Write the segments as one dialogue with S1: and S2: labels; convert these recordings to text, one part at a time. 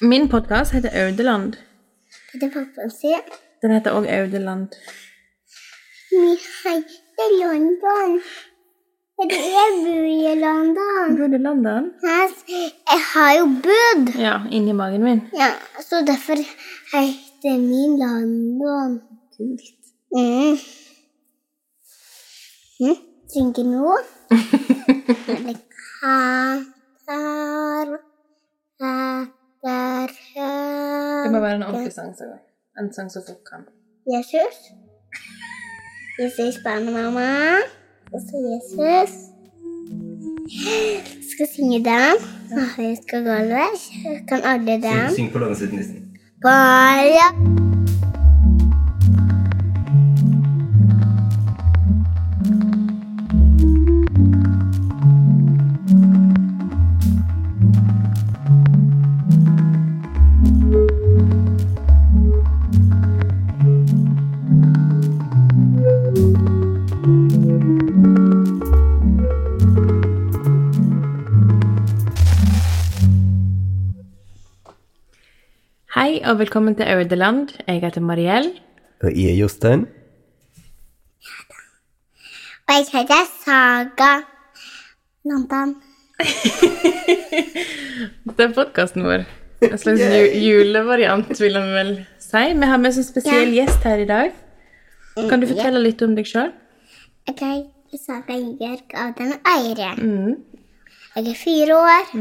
S1: Min podkast heter Audeland.
S2: Det er pappaen sin.
S1: Den heter òg Audeland.
S2: Vi heter London. For jeg bor i London.
S1: Bor du i London?
S2: Her s- Jeg har jo bodd.
S1: Ja, inni magen min.
S2: Ja, så derfor heter min London.
S1: Kult.
S2: Mm. Mm. Synge nå. Eller katter Katter
S1: Det må være en ordentlig sang. Så. En sang som folk kan.
S2: Jesus. Jesus barn og mamma. Og så Jesus. Skal synge den. Og vi skal gå over. Kan alle
S3: Syng,
S2: den.
S3: syng på lånesiden nissen.
S2: Bare
S1: Hei og velkommen til Audeland. Jeg heter Mariell.
S3: Og jeg er Jostein.
S2: Og jeg heter Saga London.
S1: Det er podkasten vår. En slags ju julevariant, vil jeg vel si. Vi har med oss en spesiell gjest her i dag. Kan du fortelle litt om deg sjøl?
S2: Ok, Saga Ingebjørg Aden Eire.
S1: Mm.
S2: Jeg er fire år.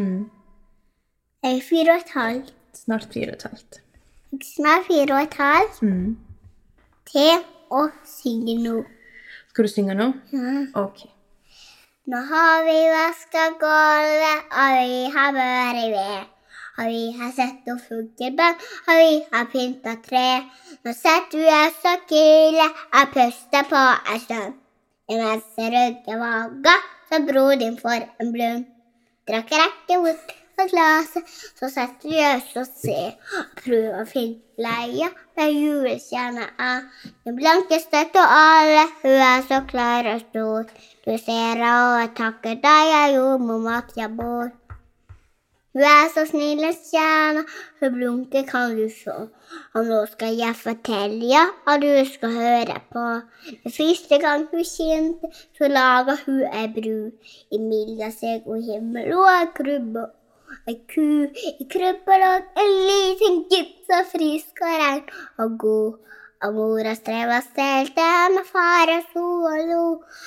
S2: Jeg er fire og et halvt.
S1: Snart fire og et halvt.
S2: Jeg er Snart fire og et halvt.
S1: Mm.
S2: Til å synge nå.
S1: Skal du synge nå? Ok.
S2: Nå har vi vaska gulvet, og vi har vært ved. Og vi har sett opp fuglebønn, og vi har pynta tre. Nå setter vi oss og kiler, og puster på ei stund. Imens jeg rugger vagga, så bror din får en blund. Drakk rekke opp av glasset, så setter vi oss og ser. Og prøver å finne leia med julestjerna av. Den blanke støtte og alle, hun er så klar og stor. Du ser og jeg takker deg, jeg gjorde mor at jeg bor. Hun er så snill og stjerne, hun blunker kan du se. Og nå skal jeg fortelle, ja, og du skal høre på. Den første gang hun kjente, så laga hun ei bru. Imellom seg og himmel og ei krybbe. Ei ku i krybba lå en liten gutt så frisk og rein og god. Og mora streva stelte med faren sto og lo.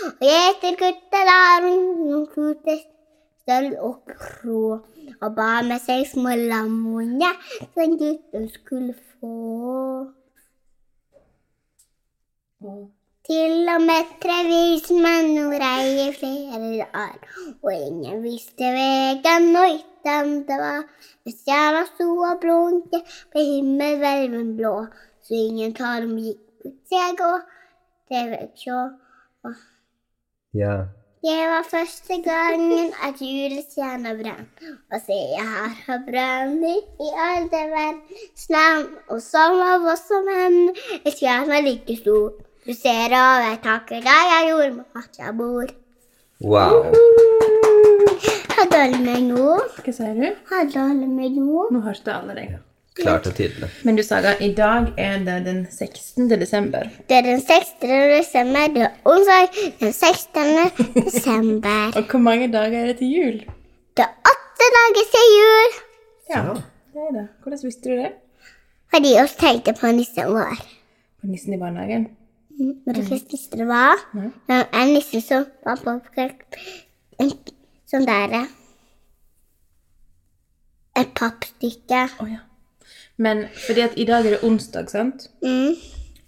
S2: Og gjetergutta der hun kute støl og ro, og ba med seg små lammene som gutten skulle få. Til og med tre vismenn og rei i flere dager, og ingen visste vegen og ytten det var. Men stjerna sto og blunke på himmelhvelven blå, så ingen tar dem gikk ut seg og det vet sjå.
S3: Ja.
S2: Det var første gangen at julestjerna brant. Og se, jeg har hatt brann i alle verdens land. Og som av oss som hender, er stjerna like stor. Du ser og jeg takker deg, jeg gjorde med at jeg bor.
S3: Wow.
S2: Hadde alle meg nå?
S1: Hva sier du?
S2: Hadde alle meg nå?
S1: Nå hørte alle deg.
S3: Klart og tydelig.
S1: Men du, Saga, i dag er det den 16. desember.
S2: Det er den 16. desember, det er onsdag den 16. desember.
S1: Og hvor mange dager er det til jul?
S2: Det er åtte dager til jul,
S3: Ja.
S1: Det er det. Hvordan visste du det?
S2: fordi oss tenkte på nissen vår.
S1: På nissen i barnehagen.
S2: Men dere visste det hva? Det var en nisse som var på en sånn der Et pappstykke.
S1: Å ja. Men fordi at i dag er det onsdag, sant?
S2: Mm.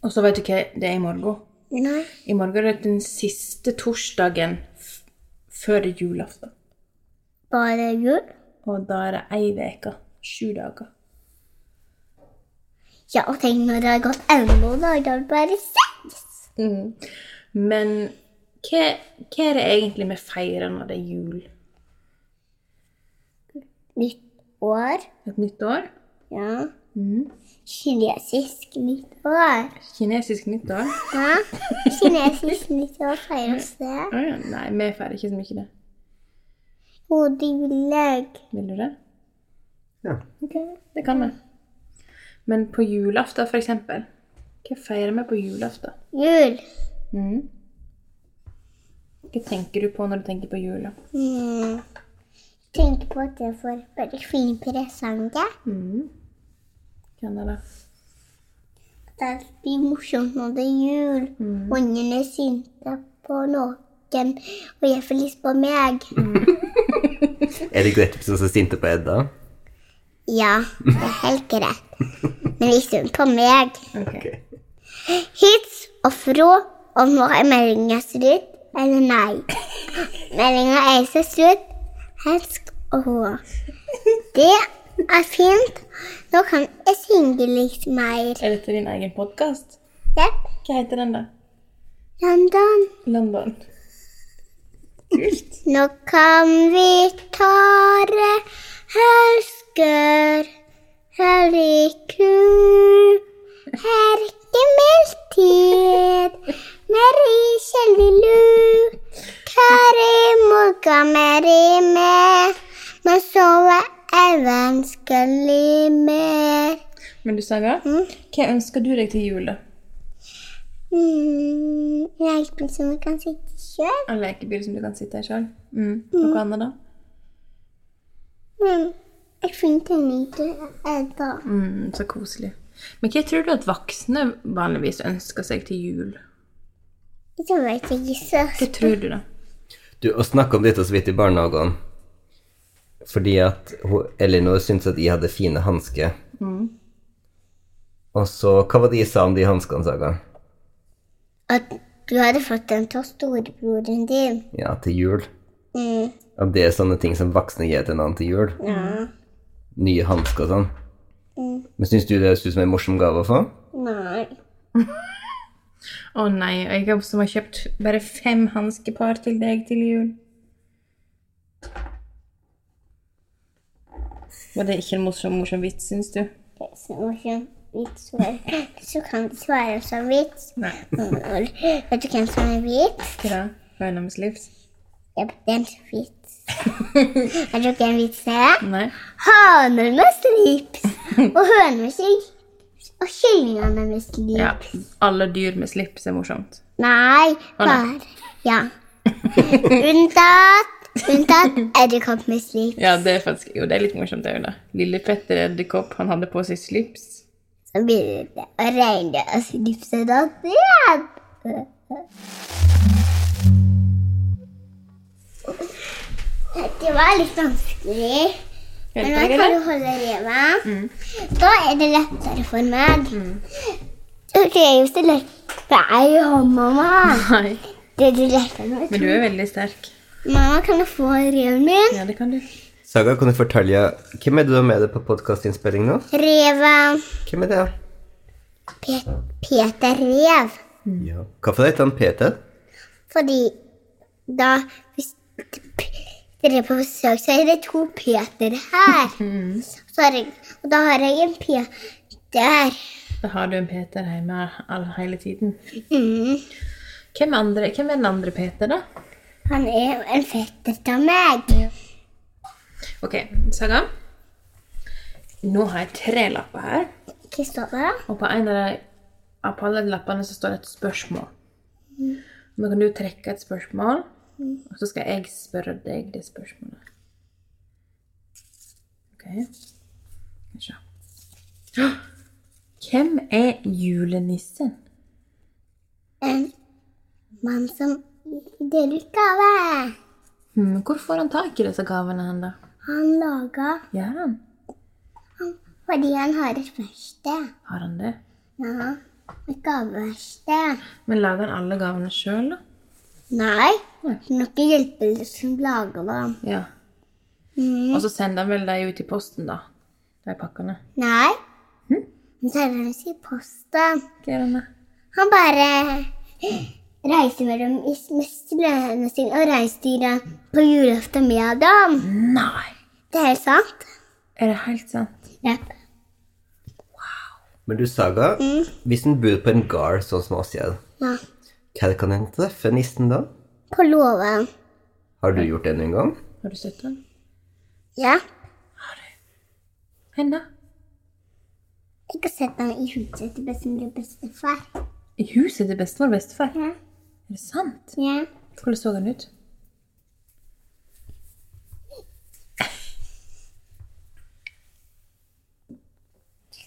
S1: Og så vet du hva det er i morgen?
S2: Nei.
S1: I morgen er det den siste torsdagen f- før det er julaften.
S2: Var det jul?
S1: Og da er det ei uke. Sju dager.
S2: Ja, og tenk når det har gått elleve dager, da er det bare seks.
S1: Mhm. Men hva, hva er det egentlig vi feirer når det er jul?
S2: Nytt år.
S1: Et nytt år?
S2: Ja.
S1: Mhm.
S2: Kinesisk nytt år.
S1: Kinesisk nyttår?
S2: Ja. Kinesisk nytt år feires det.
S1: Å ja. Nei, vi feirer ikke så mye det.
S2: Hodejuleg.
S1: Vil du det?
S3: Ja.
S1: Ok, det kan vi. Men på julaften, for eksempel. Hva feirer vi på julaften?
S2: Jul.
S1: Mhm. Hva tenker du på når du tenker på jula?
S2: Mm. Tenk på at jeg får veldig fine presanger.
S1: Mhm. Kan jeg det?
S2: Det blir morsomt når det er jul. Ungene er sinte på noen, og jeg får lyst på meg.
S3: Er det greit hvis du er så sinte på Edda?
S2: Ja, det er helt greit. Men hvis hun på meg
S1: Ok.
S2: Hils og Fro om når meldinga er slutt, eller nei. Meldinga er ikke slutt. Helsk og hå. Det er fint. Nå kan jeg synge litt mer.
S1: Er dette din egen podkast?
S2: Jepp.
S1: Hva heter den, da?
S2: London.
S1: London. Kult.
S2: Nå kan vi tare helsker, hellig ku. Herkemiltid, merri kjellilu. Kari morga merri med, men sove er vanskelig mer.
S1: Men du, Saga,
S2: Mm.
S1: hva ønsker du deg til jul? da?
S2: Mm, Hjelpen som vi kan sitte sjøl.
S1: En lekebil som du kan sitte i sjøl? Mm. Noe annet, da?
S2: Men jeg finner tegning til Edda.
S1: Mm, så koselig. Men hva tror du at voksne vanligvis ønsker seg til jul?
S2: Det vet jeg ikke.
S1: Hva tror du, da?
S3: Du, å snakke om dette så vidt i barnehagen. Fordi at hun, Elinor syntes at jeg hadde fine hansker. Og så, hva var det jeg sa om de hanskene, Saga?
S2: At du hadde fått den av storebroren din.
S3: Ja, til jul.
S2: Mm.
S3: At det er sånne ting som voksne gir til en annen til jul. Nye hansker og sånn. Men syns du det høres ut som en morsom gave å få?
S2: Nei.
S1: Å nei, og jeg har- som har kjøpt bare fem hanskepar til deg til jul. Var det ikke en morsom, morsom vits, syns du?
S2: Det er så morsom vits. for- Så kan du svare en sånn vits.
S1: Nei.
S2: Og Vet du hvem som er vits?
S1: Hva da? Hønemens livs?
S2: Ja, det er en sånn vits. Vet du hvem vits det er?
S1: Nei.
S2: Haner med slips og høner med slips. Og kyllingene med slips.
S1: Ja, alle dyr med slips er morsomt.
S2: Nei,
S1: nei.
S2: bare Ja. Unntatt Unntatt edderkopp med slips.
S1: Ja, det er faktisk, jo, det er litt morsomt det er jo da. Lille Petter Edderkopp, han hadde på seg slips.
S2: Så blir det og regner og slipset og ned. Det var litt vanskelig. Men nå
S1: Hjelper deg,
S2: kan
S1: eller? Mm.
S2: du holde revet. Da er det lettere for meg. Det er jo så lett. Det er jo han, mamma.
S1: Nei.
S2: Det er jo lettere med
S1: Men du er veldig sterk.
S2: Mamma, kan jeg få reven min?
S1: Ja, det kan du.
S3: Saga, kan du fortelle Hvem er det du har med deg på podkastinnspilling nå?
S2: Reven.
S3: Hvem er det?
S2: Pe Peter Rev.
S3: Ja. Hvorfor heter han Peter?
S2: Fordi da Hvis dere er på besøk, så er det to Peter her. Så har jeg, og da har jeg en Peter.
S1: Da har du en Peter hjemme all, hele tiden.
S2: Mm.
S1: Hvem, andre, hvem er den andre Peter, da?
S2: Han er jo en fetter av meg.
S1: Ok, Saga. Nå har jeg tre lapper her,
S2: Kristoffer?
S1: og på en av de av på alle de lappene så står det et spørsmål. Nå kan du trekke et spørsmål, og så skal jeg spørre deg det spørsmålet. Ok. Skal vi se. Åh! Hvem er julenissen?
S2: En mann som deler ut gave.
S1: Hmm, hvor får han tak i disse gavene hen, da?
S2: Han laga
S1: Ja,
S2: fordi han har et verksted.
S1: har han det?
S2: Ja, et gaveverksted.
S1: Men lager han alle gavene sjøl, da?
S2: Nei,
S1: Nei.
S2: det er noen hjelpere som lager dem.
S1: Ja.
S2: Mm.
S1: Og så sender han vel de ut i posten, da? De pakkene.
S2: Nei. Han sender oss i posten.
S1: Hva er den, da?
S2: Han bare reiser mellom is- med sløene sine og reinsdyra på julaften med dem.
S1: Nei!
S2: Det er helt sant.
S1: Er det helt sant?
S2: Jepp.
S3: Men du, Saga, hvis en bor på en gard sånn som oss gjør,
S2: Ja.
S3: hva kan en treffe nissen da?
S2: På låven.
S3: Har du gjort det noen gang?
S1: Har du sett den?
S2: Ja.
S1: Hen da?
S2: Jeg har sett den i huset til bestemor og bestefar.
S1: I huset til bestemor og bestefar?
S2: Ja.
S1: Er det sant?
S2: ja.
S1: Hvordan så den ut?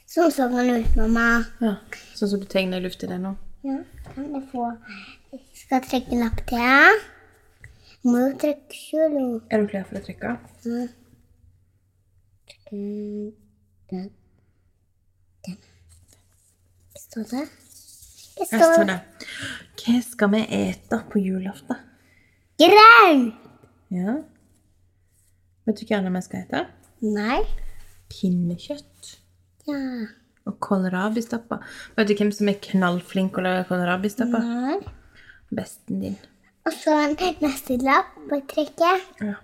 S2: Sånn så den ut, mamma.
S1: Ja. Sånn som du tegner i lufta der nå?
S2: Ja, kan jeg få Jeg skal trekke en lapp til. ja. Må jo trekke sjøl. jo.
S1: Er du klar for å trykke?
S2: Mm, Den. Den. Hva står det? Hva
S1: Her står
S2: står det?
S1: det. Hva skal vi ete på julaften?
S2: Grønn!
S1: Ja. Vet du hva annet vi skal ete?
S2: Nei.
S1: Pinnekjøtt.
S2: Ja.
S1: Og kålrabistappa. Vet du hvem som er knallflink å lage kålrabistappa?
S2: Nei.
S1: Besten din.
S2: Og så en neste lapp må jeg trekke.
S1: Ja.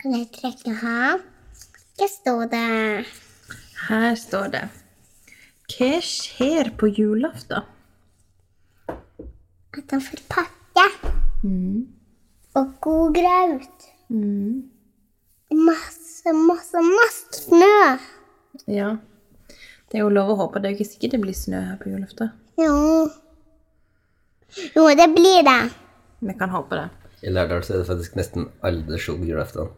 S2: Kan jeg trekke her? Hva står det?
S1: Her står det Hva skjer på julaften?
S2: At han får pakke.
S1: Mm,
S2: Og god graut. Masse, masse, masse snø.
S1: Ja. Det er jo lov å håpe. Det er jo ikke sikkert det blir snø her på julaften.
S2: Jo. Jo, det blir det.
S1: Vi kan håpe det.
S3: I Lærdal så er det faktisk nesten aldri sol julaften.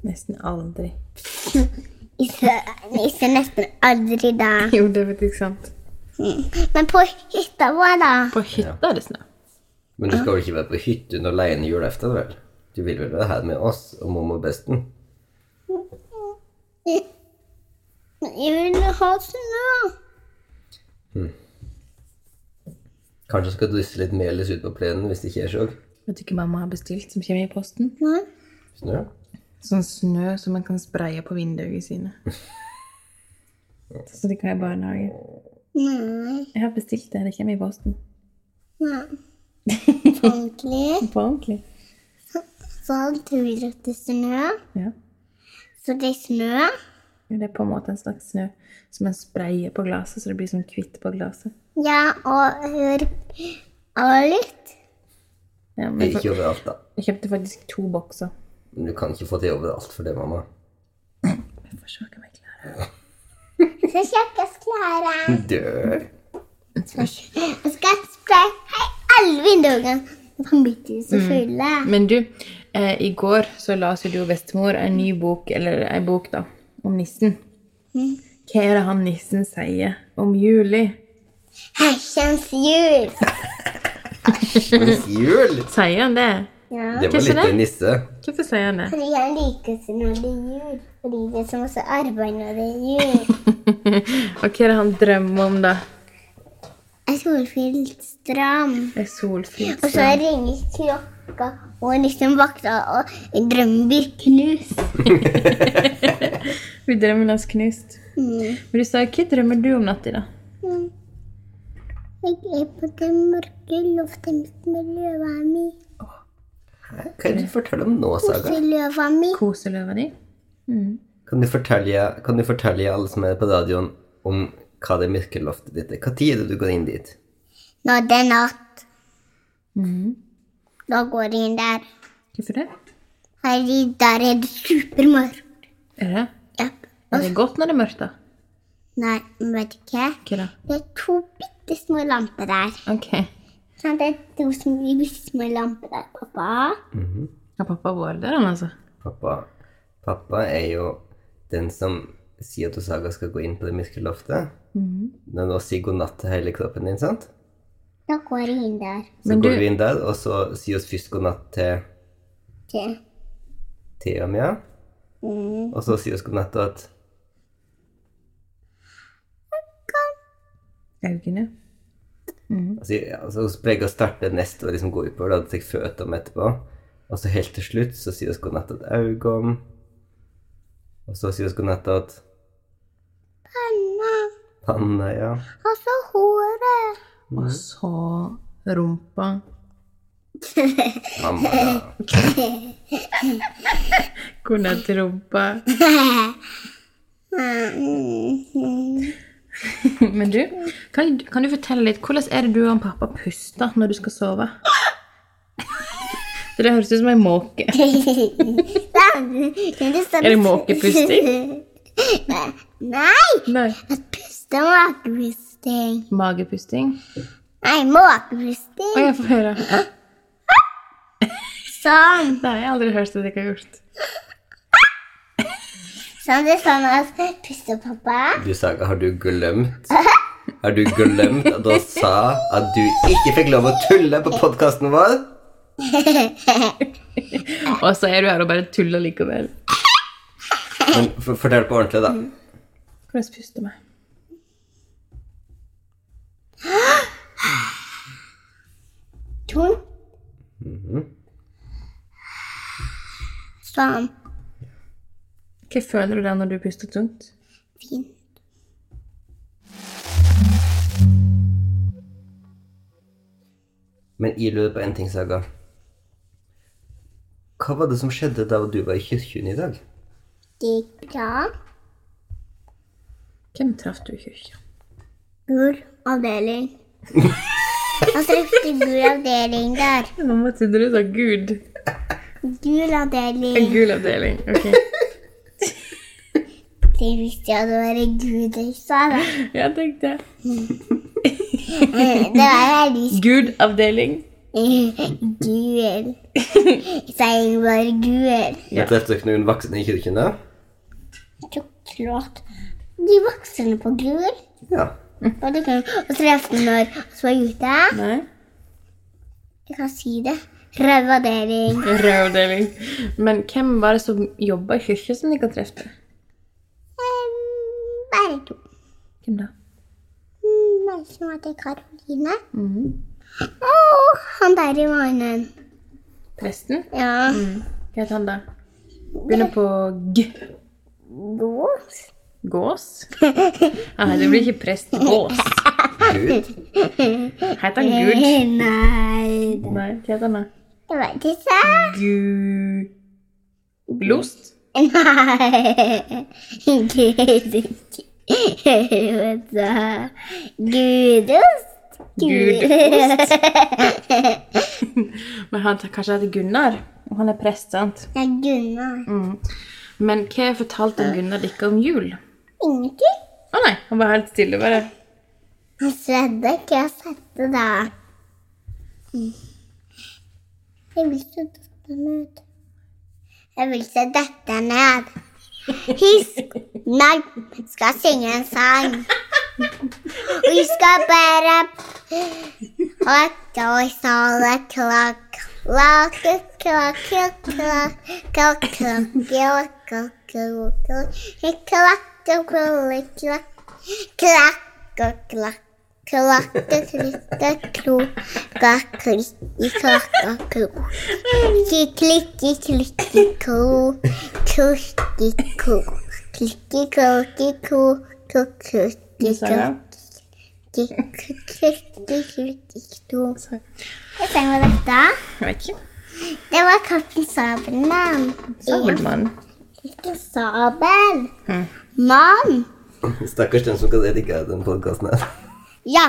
S1: Nesten aldri.
S2: Ikke, ikke nesten aldri da.
S1: Jo, det er faktisk sant.
S2: Men på hytta vår, da.
S1: På hytta er det snø.
S3: Men du skal vel ikke være på hytta når leien er julaften, vel? Du vil vel være her med oss og mamma og besten?
S2: Jeg vil ha snø.
S3: Kanskje skal drysse litt melis ut på plenen hvis det ikke er så
S1: Vet du hva mamma har bestilt som kommer i posten?
S2: Nei.
S3: snø.
S1: Sånn snø som man kan spraye på vinduene sine. Så det kan jeg i barnehagen.
S2: Nei.
S1: Jeg har bestilt det. Det kommer i posten.
S2: Nei. Egentlig
S1: På ordentlig.
S2: så han tror at det er snø.
S1: Ja.
S2: Så det er snø.
S1: Det er på en måte en slags snø som man sprayer på glasset, så det blir sånn kvitt på glasset.
S2: Ja, og hør og lytt.
S1: Ja, men
S3: Det
S1: jeg,
S3: er ikke overalt, da.
S1: får- jeg kjøpte faktisk to bokser.
S3: Men du kan ikke få til overalt for det, mamma.
S1: Jeg får se hva jeg klarer.
S2: Så kjekkest klare.
S3: Dør.
S2: Jeg skal spraye alle vinduene. På mitt hus
S3: Mm.
S2: er fulle.
S1: Men du, eh, i går så leste du og bestemor en ny bok, eller en bok da, om nissen. Mm. Hva er det han nissen sier om juli?
S2: Hersens jul.
S3: Mens jul!
S1: Sier han det?
S2: Ja.
S3: Det var
S1: Kanskje
S3: litt
S1: det?
S3: en nisse.
S1: Hvorfor sier han det?
S2: Fordi han liker seg når det er jul. Fordi det er så masse arbeid når det er jul.
S1: Og hva er det han drømmer om da?
S2: Jeg solfylt stram.
S1: Det er solfritt.
S2: Og så ringer klokka, og liksom vakter, og drømmen blir knust.
S1: Vi drømmer oss knust.
S2: Mm.
S1: Men du sa, hva drømmer du om natt i da?
S2: Jeg er på det mørke loftet mitt med løva mi.
S3: Hæ? Hva er det Eh, du forteller om nå, Saga?
S2: Til løva mi.
S1: Koseløva di?
S3: Kan du fortelle, kan du fortelle alle som er på radioen, om hva det mørkeloftet ditt er? Hva tid er det du går inn dit?
S2: Når det er natt,
S1: Mhm.
S2: da går jeg inn der.
S1: Hvorfor det?
S2: Fordi der er det supermørkt.
S1: Er det?
S2: Ja.
S1: Er det godt når det er mørkt da?
S2: Nei, men vet du hva?
S1: Hva da?
S2: Det er to bitte små lamper der.
S1: Ok.
S2: Sånn, det er to som lyser med lampe der, pappa.
S1: Har pappa vært der han altså?
S3: Pappa. Pappa er jo den som sier at du, Saga skal gå inn på det mørkeloftet.
S1: Mhm.
S3: Når nå sier god natt til hele kroppen din, sant?
S2: Da går jeg inn der.
S3: Så
S1: Men
S3: går
S1: du-
S3: du inn der, og så sier oss først god natt til
S2: Til.
S3: Thea og Mia.
S2: Mm.
S3: Og så sier oss god natt til at
S1: Øynene?
S3: Altså, ja, altså hun pleier å starte neste og liksom gå oppover, da tar jeg føtter om etterpå. Og så helt til slutt så sier vi godnatt til Augom. Og så sier vi godnatt til
S2: Panna.
S3: Panna, ja.
S2: Og så håret.
S1: Og så rumpa.
S3: Mamma, ja.
S1: God natt, rumpa.
S2: Mm.
S1: Men du, kan, kan du fortelle litt, hvordan er det du og han pappa puster når du skal sove? Så det høres ut som ei måke.
S2: Er
S1: Er det måkepusting?
S2: Nei!
S1: Nei.
S2: Puste måkepusting.
S1: Magepusting.
S2: Nei, måkepusting.
S1: Å, jeg får høre.
S2: Sånn.
S1: Det har jeg aldri hørt at jeg ikke har gjort.
S2: Sånn det er sånn at puster pappa.
S3: Du sa Har du glemt Har du glemt at du sa at du ikke fikk lov å tulle på podkasten vår?
S1: Og så er du her og bare tuller likevel.
S3: Men for- fortell på ordentlig, da.
S1: Hvordan puster meg?
S2: To.
S1: Mhm.
S2: Sånn.
S1: Hva føler du da når du puster tungt?
S2: Fin.
S3: Men jeg lurer på en ting, Saga. Hva var det som skjedde da du var i kirken i dag?
S2: Det gikk bra.
S1: Hvem traff du i kirka?
S2: Gul avdeling. Han trefte gul avdeling der.
S1: Mamma trodde du sa Gud.
S2: Gul avdeling.
S1: Gul avdeling. Ok.
S2: Det visste jeg det var en gud jeg sa, da.
S1: Jeg tenkte
S2: Eh, Det var veldig
S1: Gud avdeling.
S2: Gul. Jeg sa jeg var gul.
S3: Ja. Traff dere noen voksne i kirken, da?
S2: Så klart. De voksne på gul.
S3: Ja.
S2: Og det kan og treffe når vi var ute.
S1: Nei.
S2: Jeg kan si det. Revadering.
S1: Rød avdeling. Men hvem var det som jobba i kirka som de ikke treffe?
S2: Bare to.
S1: Hvem da?
S2: Mm, En som heter Karoline.
S1: Mhm.
S2: Og han der i mannen.
S1: Presten?
S2: Ja.
S1: Hva het han da? Begynner på G.
S2: Gås.
S1: Gås? Nei, det blir ikke prest Gås.
S3: Gud.
S1: Heter han Gud?
S2: Eh, Nei,
S1: Nei, hva heter han da?
S2: det var ikke sant.
S1: Gu... Lost?
S2: Nei. Gud. Gudost.
S1: Gudost. Men han kanskje heter Gunnar? Og han er prest, sant?
S2: Ja, Gunnar.
S1: Men hva fortalte Gunnar dere om jul?
S2: Ingenting.
S1: Å nei, han var helt stille bare.
S2: Han svedde ikke jeg sette da. Jeg vil se dette ned. Jeg vil se dette ned. Hisk. Nei, skal synge en sang. Vi skal bare Hot og sole klokk. Lake klokk, klokk, klokk, klokk, klokk, klokk, klokk, klokk, og krulle, klokk, klokk og klokk. Klakke, klikke, klo, klakke, klikke, klakke, klo. Klikke, klikke, klikke, klo, klikke, klo. Klikke, klokke, klo, klokke, klikke,
S1: Saga.
S2: jeg
S1: Så,
S2: sang med dette.
S1: jeg vet ikke.
S2: Det var Kaptein Sabelmann.
S1: Sabelmann.
S2: Ikke sabel. Mann.
S3: Stakkars den som kan redigere den podkasten her.
S2: Ja.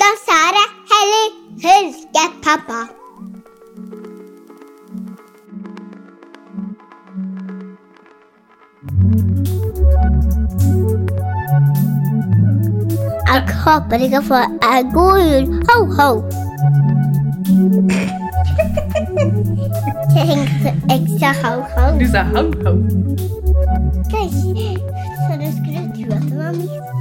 S2: Da sa jeg heller huske pappa. Jeg håper dere får en god jul. Ho, ho! Tenkte ekstra ho, ho.
S1: Du sa ho-ho.
S2: Kanskje så du skulle tro at det var mitt.